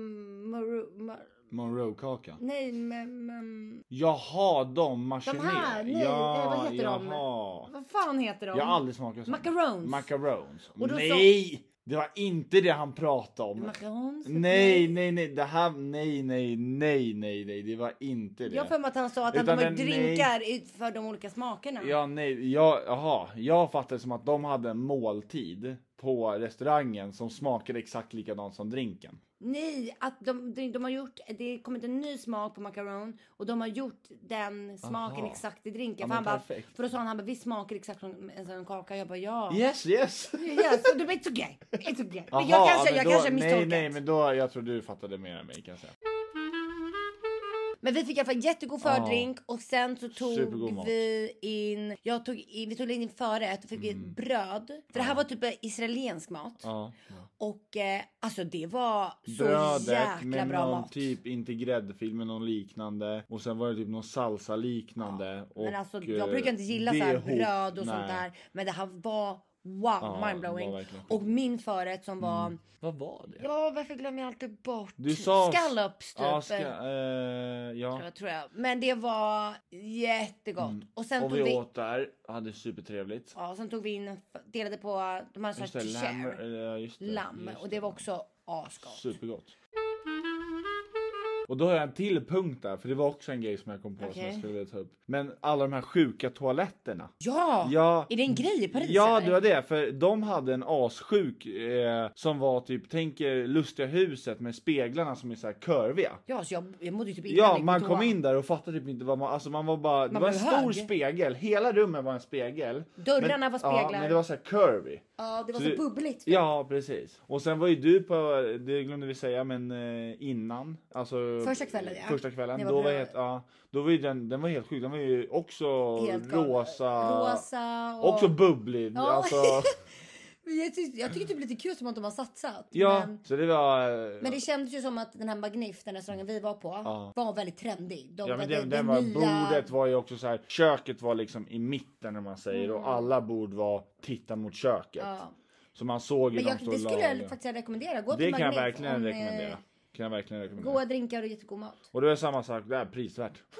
A: maru- ma,
B: Monroe-kaka.
A: nej, ma, ma,
B: Jaha, de
A: de
B: marchiné.
A: här, nej, eh, vad heter
B: jaha.
A: de? Vad fan heter de?
B: Jag har aldrig smakat sånt.
A: Macarons.
B: Macarons.
A: Och då sa-
B: nej! Det var inte det han pratade om.
A: Macarons?
B: Nej, nej, nej. Det här, nej, nej, nej, nej, nej. Det var inte det.
A: Jag har för mig att han sa att han
B: Utan
A: kommer
B: den-
A: drinkar ut för de olika smakerna.
B: Ja, nej, jag, jaha. Jag fattade som att de hade en måltid på restaurangen som smakade exakt likadant som drinken.
A: Nej, att de, de, de har gjort, det har kommit en ny smak på macaron och de har gjort den smaken
B: Aha.
A: exakt i drinken. för,
B: Ja, men
A: han bara,
B: perfekt.
A: för då sa han, han bara, vi smakar exakt som en sån kaka. Jag bara, ja.
B: Yes, yes!
A: Yes, so it's okay. It's okay. men jag
B: Jaha,
A: kanske,
B: men
A: jag
B: då-
A: kanske
B: Nej,
A: misstolkat.
B: nej, men då, jag tror du fattade mer än mig kan jag säga.
A: Men vi fick i alla fall jättegod fördrink och sen så
B: Supergod
A: tog
B: mat.
A: vi in, jag tog in, vi tog in förrätt och fick mm. bröd. För det här var typ israelensk mat.
B: Ja.
A: Och eh, alltså det var så
B: Brödet
A: jäkla
B: med
A: bra
B: någon
A: mat.
B: typ, inte gräddfil men någon liknande. Och sen var det typ någon salsa liknande. och,
A: Men alltså jag
B: eh,
A: brukar inte gilla
B: det
A: så här
B: ihop.
A: bröd och sånt
B: Nej.
A: där. Men det här var wow,
B: det var
A: mindblowing.
B: verkligen skit.
A: Och min förrätt som var,
B: Vad var det?
A: ja varför glömmer jag alltid bort?
B: Du sa...
A: Scallops typ.
B: Ja, ska, eh, ja. Mm.
A: tror jag, tror jag. Men det var jättegott. Och sen
B: Och
A: tog
B: vi
A: vi,
B: åt där, hade supertrevligt.
A: ja, sen tog vi in, en f- delade på de här
B: Just
A: såhär
B: det, lamm.
A: share.
B: eh, just det,
A: Lamm.
B: just
A: och det var också asgott.
B: Supergott. Och då har jag en till punkt där, för det var också en grej som jag kom på som
A: Okej.
B: jag skulle vilja ta upp. Men alla de här sjuka toaletterna.
A: Ja!
B: Ja.
A: Är det en grej i Paris
B: Ja,
A: eller?
B: det var det. För de hade en assjuk eh, som var typ, tänk er lustiga huset med speglarna som är så här kurviga.
A: Ja, så jag, jag mådde ju typ illa när jag
B: Ja,
A: gick på
B: man kom
A: toa.
B: in där och fattade typ inte vad man, alltså man var bara, det
A: Man
B: var en
A: blev
B: stor
A: hög.
B: spegel, hela rummet var en spegel.
A: Dörrarna var
B: Ja,
A: speglar.
B: men det var så här curvy.
A: Ja, det var så,
B: det-
A: bubbligt.
B: Ja, precis. Och sen var ju du på, det glömde vi säga, men eh, innan. Alltså,
A: Första kvällen, ja.
B: Första kvällen.
A: Det var
B: Då var,
A: bra.
B: helt, ja, då var ju den, den var helt sjuk, den var ju också
A: Helt galen.
B: rosa.
A: Rosa och-
B: Också bubblig.
A: Ja.
B: Alltså,
A: Men Jag, tyck, jag tycker typ lite kul som att de har satsat.
B: ja,
A: Men,
B: så det var... eh,
A: men det kändes ju som att den här Magnif, den restaurangen vi var på, var väldigt trendig. De,
B: Ja, men
A: det-
B: den,
A: det
B: den var,
A: nya-
B: bordet var ju också så här, köket var liksom i mitten om man säger
A: Mm.
B: och alla bord var titta mot köket. Så man såg ju
A: Men
B: de
A: jag,
B: stod
A: det skulle jag
B: laga.
A: faktiskt rekommendera. Gå
B: Det
A: till
B: kan jag
A: Magnif
B: verkligen
A: om, eh,
B: rekommendera. Kan jag verkligen rekommendera.
A: Goda drinkar och jättegod mat.
B: Och det är samma sak där, prisvärt.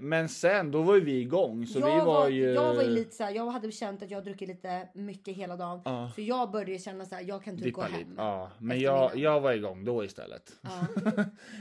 B: Men sen, då var ju vi igång så vi
A: Jag
B: var,
A: var,
B: ju...
A: jag var ju lite såhär, jag hade känt att jag har druckit lite mycket hela dagen. Så jag började känna såhär, jag kan typ
B: Dippa
A: gå
B: lite.
A: hem.
B: Ja, men
A: efter
B: jag,
A: middagen.
B: jag var igång då istället.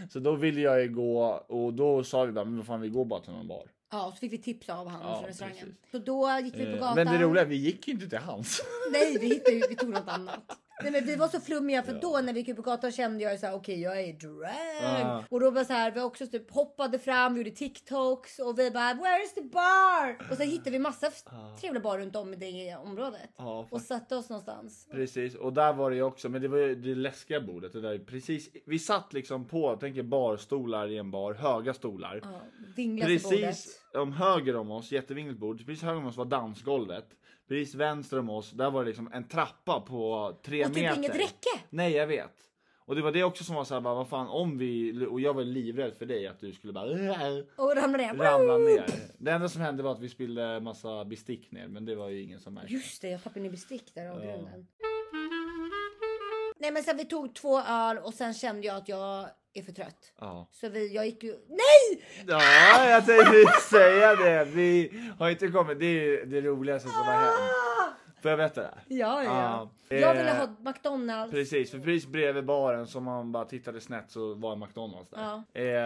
B: så då ville jag ju gå och då sa vi bara, men vad fan vi går bara till någon bar.
A: Ja, och så fick vi tips av han
B: Ja,
A: från restaurangen.
B: precis.
A: Så då gick vi på
B: Eh,
A: gatan.
B: Men det roliga, är att vi gick ju inte till hans.
A: Nej, vi hittade ju, vi tog något annat. Nej, men vi var så flummiga för då när vi gick ut på gatan kände jag ju så här, okej jag är drag.
B: Ah.
A: Och då var så här, vi också typ hoppade fram, vi gjorde TikToks och vi bara where is the bar? Och sen hittade vi massa f- trevliga bar runt om i det området.
B: Ja,
A: och
B: faktiskt.
A: satte oss någonstans.
B: Precis, och där var det ju också, men det var ju det läskiga bordet. Det där, precis, vi satt liksom på, tänk er barstolar i en bar, höga stolar.
A: Ja, Vinglade på bordet.
B: Precis om höger om oss, jättevingligt bord, precis höger om oss var dansgolvet. Precis vänster om oss, där var det liksom en trappa på tre
A: Och typ
B: meter.
A: inget räcke.
B: Nej, jag vet. Och det var det också som var såhär, bara, vad fan om vi, och jag var livrädd för dig att du skulle bara "Äh",
A: Och ramlade ner.
B: ramla ner. Det enda som hände var att vi spillde massa bestick ner, men det var ju ingen som märkte.
A: Just det, jag tappade ner bestick där av grunden. Nej men sen vi tog två öl och sen kände jag att jag är för trött.
B: Ja.
A: Så vi, jag gick ju... Nej!
B: Ja, jag tänkte säga det. Vi har inte kommit. Det är ju det roligaste som har hänt.
A: Ah!
B: Får jag berätta det?
A: Ja, ja.
B: Ja.
A: Jag ville
B: Eh,
A: ha McDonalds.
B: Precis, för precis bredvid baren som man bara tittade snett så var en McDonalds där.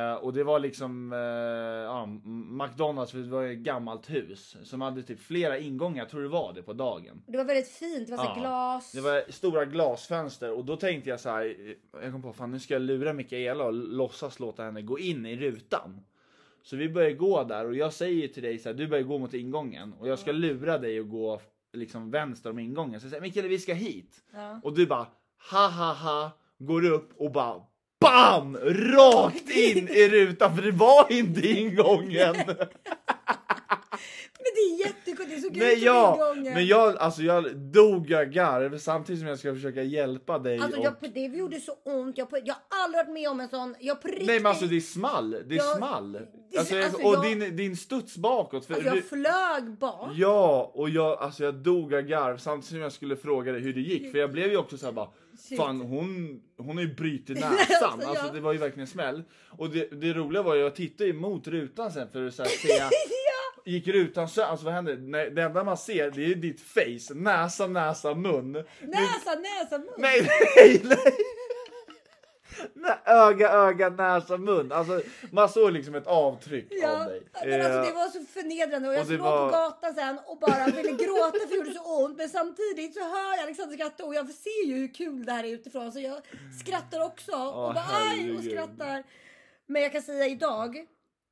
B: Eh, och det var liksom eh, ja, M- McDonalds för det var ett gammalt hus som hade typ flera ingångar, jag tror det var det på dagen.
A: Det var väldigt fint. Det var så här
B: Ja.
A: glas.
B: Det var stora glasfönster och då tänkte jag så här. eh, Jag kom på fan nu ska jag lura Mikaela och låtsas låta henne gå in i rutan. Så vi börjar gå där och jag säger till dig så här, du börjar gå mot ingången och jag ska lura dig att gå liksom vänster om ingången. Så jag säger Mikaela vi ska hit. Och du bara ha ha ha går upp och bara BAM! Rakt in i rutan för det var inte ingången.
A: Men det är jättekul. Det såg ut
B: Nej,
A: som
B: ja,
A: ingången.
B: men jag, alltså jag dog jag garv samtidigt som jag ska försöka hjälpa dig
A: Alltså
B: och...
A: jag, det gjorde så ont. Jag, på- jag har aldrig varit med om en sån. Jag på riktigt.
B: Nej men alltså det är small, det är
A: Jag-
B: small.
A: det-
B: Alltså, jag-
A: alltså,
B: och
A: jag-
B: din, din studs bakåt. För
A: Alltså,
B: du,
A: jag flög bak.
B: ja, och jag, alltså, jag dog av garv samtidigt som jag skulle fråga dig hur det gick. För jag blev ju också såhär bara, fan hon, hon har ju brutit näsan.
A: Alltså,
B: alltså,
A: ja.
B: det var ju verkligen smäll. Och det, det roliga var ju, jag tittade ju mot rutan sen för att så här, se Gick rutan sönder? Alltså vad händer? Nej, det enda man ser det är ju ditt face, näsa, näsa, mun.
A: Näsa, näsa, mun.
B: Nej, nej, nej. Nej, Öga, öga, näsa, mun. Alltså, man såg liksom ett avtryck
A: Ja,
B: av dig.
A: men alltså, det
B: Eh,
A: var så förnedrande och
B: och
A: jag
B: det
A: låg
B: var-
A: på gatan sen och bara ville gråta för det gjorde så ont. Men samtidigt så hör jag Alexander skratta och jag ser ju hur kul det här är utifrån så jag skrattar också och bara aj och
B: herregud.
A: skrattar. Men jag kan säga idag,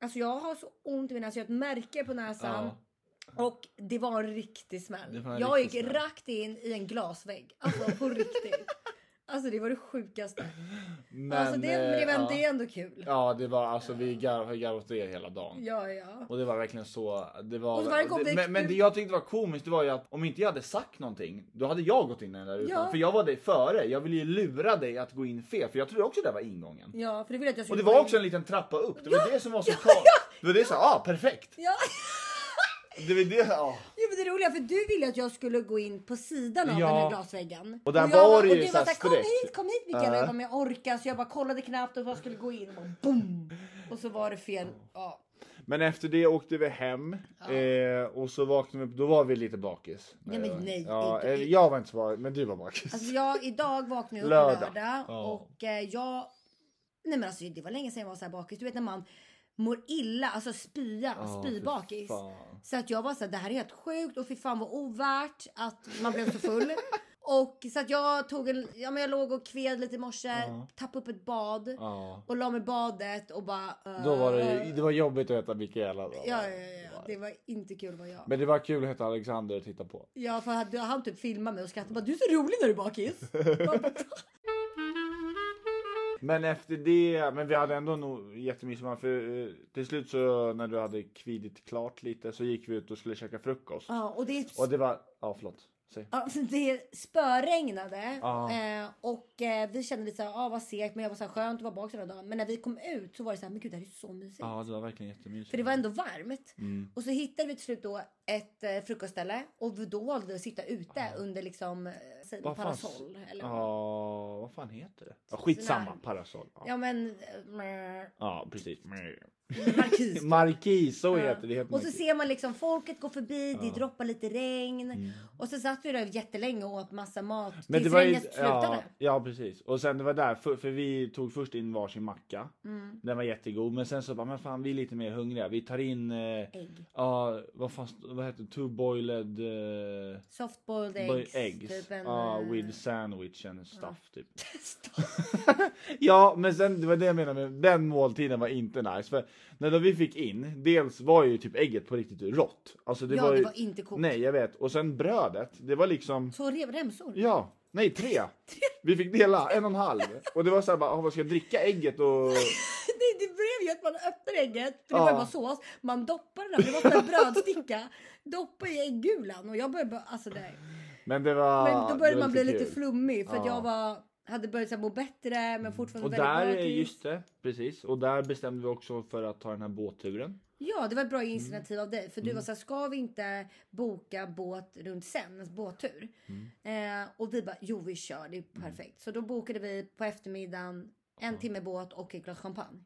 A: alltså jag har så ont i min näsa, jag har ett märke på näsan.
B: Ja.
A: Och det var en riktig
B: Det
A: smäll.
B: var en
A: jag
B: riktig
A: gick
B: smäll.
A: rakt in i en glasvägg. Alltså på riktigt. Alltså det var det sjukaste.
B: men,
A: Alltså det, men det,
B: eh,
A: var,
B: ja.
A: det är ändå kul.
B: ja, det var alltså vi garv- har garvat åt er hela dagen.
A: Ja, ja.
B: Och det var verkligen så. Det var,
A: Och så var det kompis-
B: men, men det jag tyckte var komiskt det var ju att om inte jag hade sagt någonting då hade jag gått in i den där rutan.
A: Ja.
B: För jag var dig före. Jag ville ju lura dig att gå in fel för jag trodde också det var ingången.
A: Ja, för det ville jag att jag
B: Och
A: skulle
B: det
A: gå
B: var
A: in.
B: också en liten trappa upp. Det var det som var så ja, Det var det så här, ah perfekt.
A: Ja.
B: Det var det, ah.
A: Jo men det roliga för du ville att jag skulle gå in på sidan av
B: Ja.
A: den här glasväggen.
B: Och där
A: jag,
B: var det ju
A: och du
B: så
A: var
B: här
A: såhär, kom
B: streck.
A: hit, kom hit Mikael. Och
B: Ja.
A: jag bara, men jag orkar. Så jag bara kollade knappt och jag skulle gå in och bara boom. Och så var det fel. Ja.
B: Men efter det åkte vi hem eh, och så vaknade vi upp. Då var vi lite bakis.
A: Nej, men nej,
B: Ja,
A: inte-
B: eh, jag var inte så bakis, men du var bakis.
A: Alltså jag, idag vaknade jag upp
B: Lördag.
A: lördag, lördag
B: Ja.
A: och eh, jag... Nej men alltså det var länge sedan jag var så här bakis. Du vet när man mår illa, alltså spya, spybakis.
B: fan.
A: Så att jag var så här, det här är helt sjukt och fy fan vad ovärt att man blev så full. och så att jag tog en, ja men jag låg och kved lite i morse, tappade upp ett bad
B: Ja.
A: och la mig i badet och bara... eh,
B: Då var det, det var jobbigt att heta Mikaela. Då.
A: Ja, ja, ja, ja, det var inte kul var jag.
B: Men det var kul att heta Alexander och titta på.
A: Ja, för han, han typ filmade mig och skrattade bara, du är så rolig när du är bakis. Jag bara,
B: Men efter det, men vi hade ändå nog jättemysommar för eh, till slut så när du hade kvidit klart lite så gick vi ut och skulle käka frukost.
A: ja, och det är typ
B: Och det var, ja förlåt. Säg.
A: Ja, för det spöregnade
B: Ja.
A: eh, och eh, vi kände lite såhär, ah, vad segt men jag var såhär skönt att vara bak den här dagen. Men när vi kom ut så var det såhär, men gud det här är så mysigt.
B: Ja Mm. det var verkligen jättemysigt.
A: För det var ändå varmt. Och så hittade vi till slut då ett eh, frukostställe och vi- då valde vi att sitta ute under liksom, eh, säg,
B: Vad fan-
A: parasoll. Eller ja.
B: Ja, vad fan heter det? Ja, skitsamma,
A: Sån
B: parasoll. Ja,
A: men, eh,
B: ja precis.
A: markis.
B: Markis, så heter det. Helt
A: Och så
B: markis.
A: ser man liksom folket gå förbi, det droppar lite regn. Och så satt vi där jättelänge och åt massa mat
B: Mm. Men det
A: tills
B: var ju,
A: regnet
B: ja,
A: slutade.
B: ja precis. Och sen det var där, för, för vi tog först in varsin macka.
A: Mm.
B: Den var jättegod. Men sen så bara, men fan vi är lite mer hungriga. Vi tar in, eh, ja vad fan, st- vad heter det? Two boiled eh,
A: Softboiled
B: boil-
A: eggs.
B: eggs.
A: Typ en,
B: ja,
A: eh,
B: with sandwich and stuff typ.
A: Stopp.
B: Ja, men sen det var det jag menade med den måltiden var inte nice. För när vi fick in, dels var ju typ ägget på riktigt rått. Alltså, det
A: Ja,
B: var
A: det
B: ju,
A: var inte kokt.
B: Nej, jag vet. Och sen brödet, det var liksom,
A: Så rev, remsor?
B: ja, nej tre. Vi fick dela en och en halv. Och det var så här bara, ah, vad ska jag dricka ägget och...
A: Nej, det blev ju att man öppnar ägget, för det
B: Ja.
A: var ju bara sås. Man doppar den där, för det var som en brödsticka. Doppar i äggulan och jag började bara, alltså nej.
B: Men det var...
A: Men då
B: det
A: började
B: var
A: man bli
B: kul.
A: lite flummig för att
B: Ja.
A: jag var, hade börjat så här, må bättre men fortfarande
B: Och
A: väldigt
B: där,
A: bakis.
B: just det, precis. Och där bestämde vi också för att ta den här båtturen.
A: Ja, det var ett bra initiativ av dig. För
B: Mm.
A: du var så här, ska vi inte boka båt runt sen? En båttur.
B: Mm.
A: Eh, och vi bara, jo vi kör, det är perfekt. Så då bokade vi på eftermiddagen en timme båt och ett glas champagne.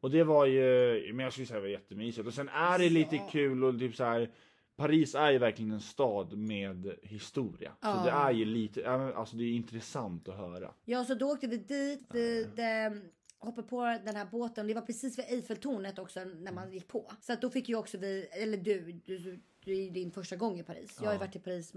B: Och det var ju, men jag skulle säga det var jättemysigt. Och sen är det lite kul och typ så här. Paris är ju verkligen en stad med historia. Så det är ju lite, ja, men alltså det är intressant att höra.
A: Ja, så då åkte vi dit. Vi de, hoppade på den här båten. Det var precis vid Eiffeltornet också när
B: Mm.
A: man gick på. Så att då fick ju också vi, eller du, du, du det är ju din första gång i Paris. Jag har ju varit i Paris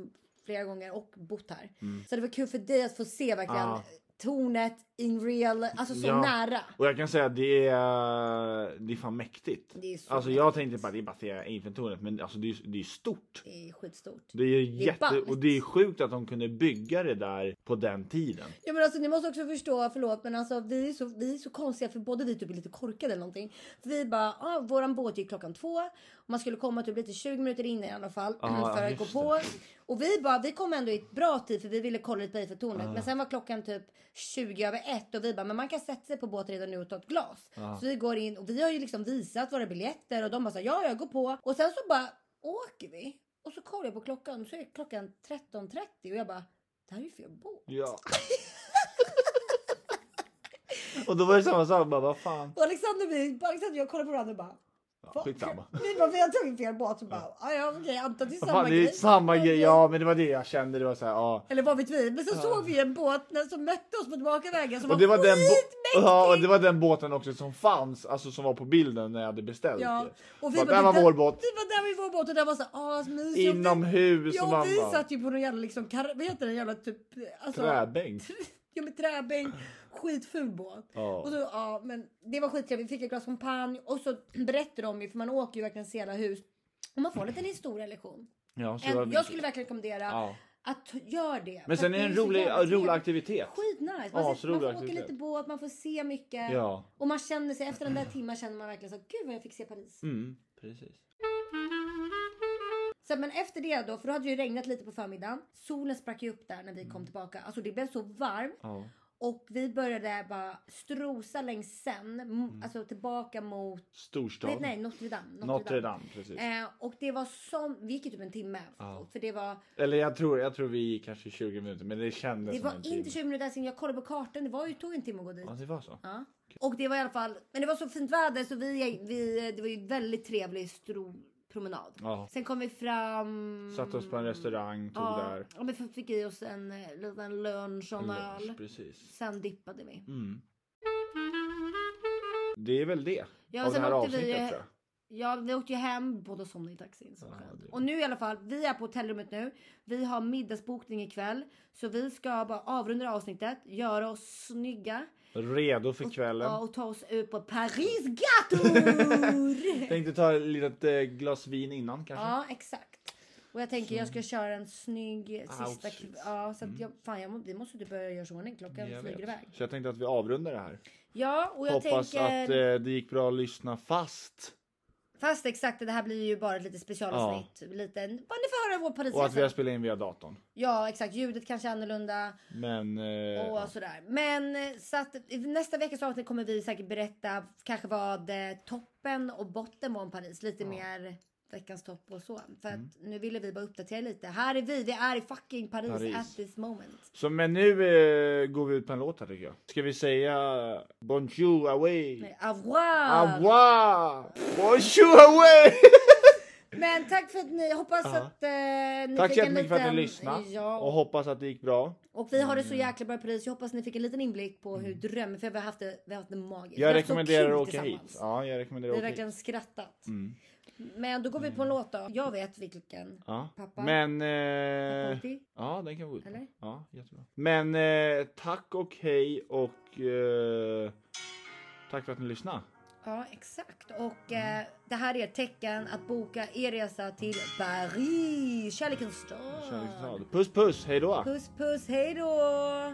A: flera gånger och bott här. Så det var kul för dig att få se verkligen
B: Mm. Ja.
A: tornet in real, alltså så
B: Ja.
A: nära.
B: Och jag kan säga att det är, det är fan mäktigt.
A: Det är så
B: alltså jag tänkte bara det är bara att se Eiffeltornet men alltså det är, det är stort.
A: Det är skitstort.
B: Det är jätte,
A: ballt.
B: och det är sjukt att de kunde bygga det där på den tiden.
A: Ja men alltså ni måste också förstå, förlåt men alltså vi är så, vi är så konstiga för både vi typ är lite korkade eller någonting. För vi bara, ah, våran båt gick klockan två och man skulle komma typ lite 20 minuter innan i alla fall
B: Ja,
A: för att
B: just
A: gå på. Och vi bara, vi kom ändå i ett bra tid för vi ville kolla lite på Eiffeltornet. Men sen var klockan typ 20 över ett och vi bara, men man kan sätta sig på båten redan nu och ta ett glas. Så vi går in och vi har ju liksom visat våra biljetter och de bara så här, ja jag går på. Och sen så bara åker vi och så kollar jag på klockan så är klockan 13.30 och jag bara, det här är ju fel båt.
B: Ja. och då var det samma sak, bara vad fan.
A: Och Alexander, vi, Alexander och jag kollar på varandra och bara...
B: Ja, skitsamma.
A: Vi bara, vi har tagit fel båt. Så bara, ja, ja okej, antar det är
B: Vad
A: samma
B: fan, det är
A: grej.
B: samma grej, ja men det var det jag kände, det var såhär ja.
A: Eller vad vet vi? Men så såg vi en båt när- som mötte oss på tillbakavägen som
B: Och det, var den bo-
A: skitmäktig.
B: ja, och det var den båten också som fanns, alltså som var på bilden när jag hade beställt
A: Ja,
B: det.
A: och vi
B: Bara,
A: bara,
B: där var
A: det där-
B: vår båt.
A: Det var där vi var vår båt och där var så här asmysigt.
B: Inomhus och
A: Ja,
B: man
A: och vi
B: bara-
A: satt ju på någon jävla liksom, kar- vad heter det, en jävla typ... Alltså,
B: Träbänk.
A: Ja men träbänk, skitful båt.
B: Ja.
A: Och så, ja, men det var skittrevligt, vi fick ett glas champagne och så berättar de ju, för man åker ju verkligen se hela hus. Och man får en liten historielektion.
B: Ja, så det var
A: En, jag
B: mysigt.
A: skulle verkligen rekommendera
B: Ja.
A: att göra det.
B: Men
A: För
B: sen
A: att
B: är det en
A: så
B: rolig,
A: jävla
B: rolig
A: trevligt.
B: aktivitet.
A: Skitnice! Man,
B: Asrolig
A: sitter- man får åka
B: aktivitet.
A: lite båt, man får se mycket.
B: Ja.
A: Och man känner sig, efter den där timmen känner man verkligen så gud vad jag fick se Paris.
B: Mm, precis.
A: Så, men efter det då, för då hade det ju regnat lite på förmiddagen. Solen sprack ju upp där när vi kom tillbaka. Alltså det blev så varmt.
B: Mm. Ja.
A: Och vi började bara strosa längs sen,
B: Mm.
A: m- alltså tillbaka mot,
B: Storstad.
A: nej, nej Notre Dame.
B: Notre Dame, precis.
A: Eh, och det var som, vi gick ju typ en timme. För det var,
B: Eller jag tror, jag tror vi gick kanske 20 minuter, men det kändes
A: det
B: som
A: var
B: en timme.
A: inte 20 minuter sen, jag kollade på kartan, det var ju, tog en timme att gå dit.
B: Ja, det var så.
A: Ja. Och det var i alla fall, men det var så fint väder så vi, vi det var ju väldigt trevlig stro, promenad.
B: Ja.
A: Sen kom vi fram.
B: Satt oss på en restaurang, tog
A: Mm. ja,
B: där.
A: ja, men vi fick i oss en eh, liten lunch och en öl.
B: Lunch, precis.
A: Sen dippade vi.
B: Det är väl det.
A: Ja,
B: av
A: sen
B: det här
A: åkte vi-
B: avsnittet tror jag.
A: Ja, vi åkte ju hem, båda somnade i taxin. Så skönt. Och nu i alla fall, vi är på hotellrummet nu. Vi har middagsbokning ikväll. Så vi ska bara avrunda det här avsnittet, göra oss snygga.
B: Redo för kvällen.
A: Ja, och ta oss ut på Paris gator!
B: Tänkte ta ett litet eh, glas vin innan kanske.
A: Ja, exakt. Och jag tänker jag ska köra en snygg sista
B: Outfit.
A: kv- Ja, så att jag, fan jag, må- vi måste typ börja göra så i ordning. Klockan
B: Mm. Jag
A: flyger
B: vet.
A: iväg.
B: Så jag tänkte att vi avrundar det här.
A: Ja, och jag
B: Hoppas
A: tänker...
B: att eh, det gick bra att lyssna fast.
A: Fast exakt, det här blir ju bara ett litet specialavsnitt. Lite, bara ni får höra vår
B: Och att vi har
A: Parisresa.
B: spelat in via datorn.
A: Ja, exakt. Ljudet kanske är annorlunda
B: Men... Eh,
A: och sådär. Men eh, så att i nästa veckas avsnitt kommer vi säkert berätta kanske vad eh, toppen och botten var om Paris. Lite mer veckans topp och så. För
B: Mm.
A: att nu ville vi bara uppdatera lite. Här är vi, vi är i fucking Paris,
B: Paris.
A: at this moment.
B: Så men nu eh, går vi ut på en låt här tycker jag. Ska vi säga Bonjour away?
A: Nej, Au revoir!
B: Au revoir! Bonjour away!
A: Men tack för att ni, hoppas att eh, ni
B: Tack
A: fick
B: så
A: en
B: jättemycket för att
A: liten-
B: ni lyssnade.
A: Ja,
B: Och Mm.
A: och,
B: hoppas att det gick bra.
A: vi har det så jäkla bra i Paris. Jag hoppas ni fick en liten inblick på hur drömmen, för vi har haft det, vi har haft det magiskt.
B: Mm. Jag
A: vi har haft så
B: rekommenderar
A: kul
B: att åka
A: tillsammans.
B: hit. Ja, jag rekommenderar
A: Vi
B: att
A: har
B: åka hit.
A: verkligen skrattat. Men då går vi på en låt då. Jag vet vilken.
B: Ja.
A: Pappa.
B: Men... Eh,
A: Ponti?
B: ja, den kan vi gå ut på.
A: Eller?
B: Ja, jättebra. Men eh, tack och hej och... Eh, tack för att ni lyssnade.
A: Ja, exakt. Och eh, det här är ett tecken att boka er resa till Paris. Kärlekens stad.
B: Kärleksstad. Puss puss, hej då!
A: Puss puss, hej då!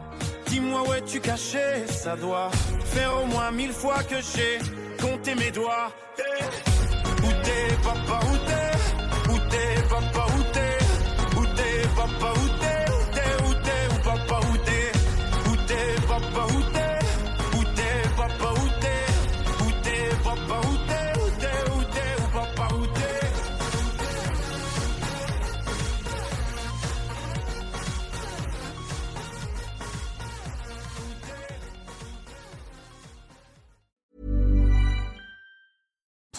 E: dis-moi où es-tu caché Ça doit faire au moins mille fois que j'ai compté mes doigts. Eh, Où t'es papa, où t'es Où t'es papa, où t'es Où t'es papa, où t'es Où t'es, où t'es, où papa, où t'es Où t'es papa, où t'es Où t'es papa, où t'es Où t'es papa, où t'es Où t'es, où t'es, où papa, où t'es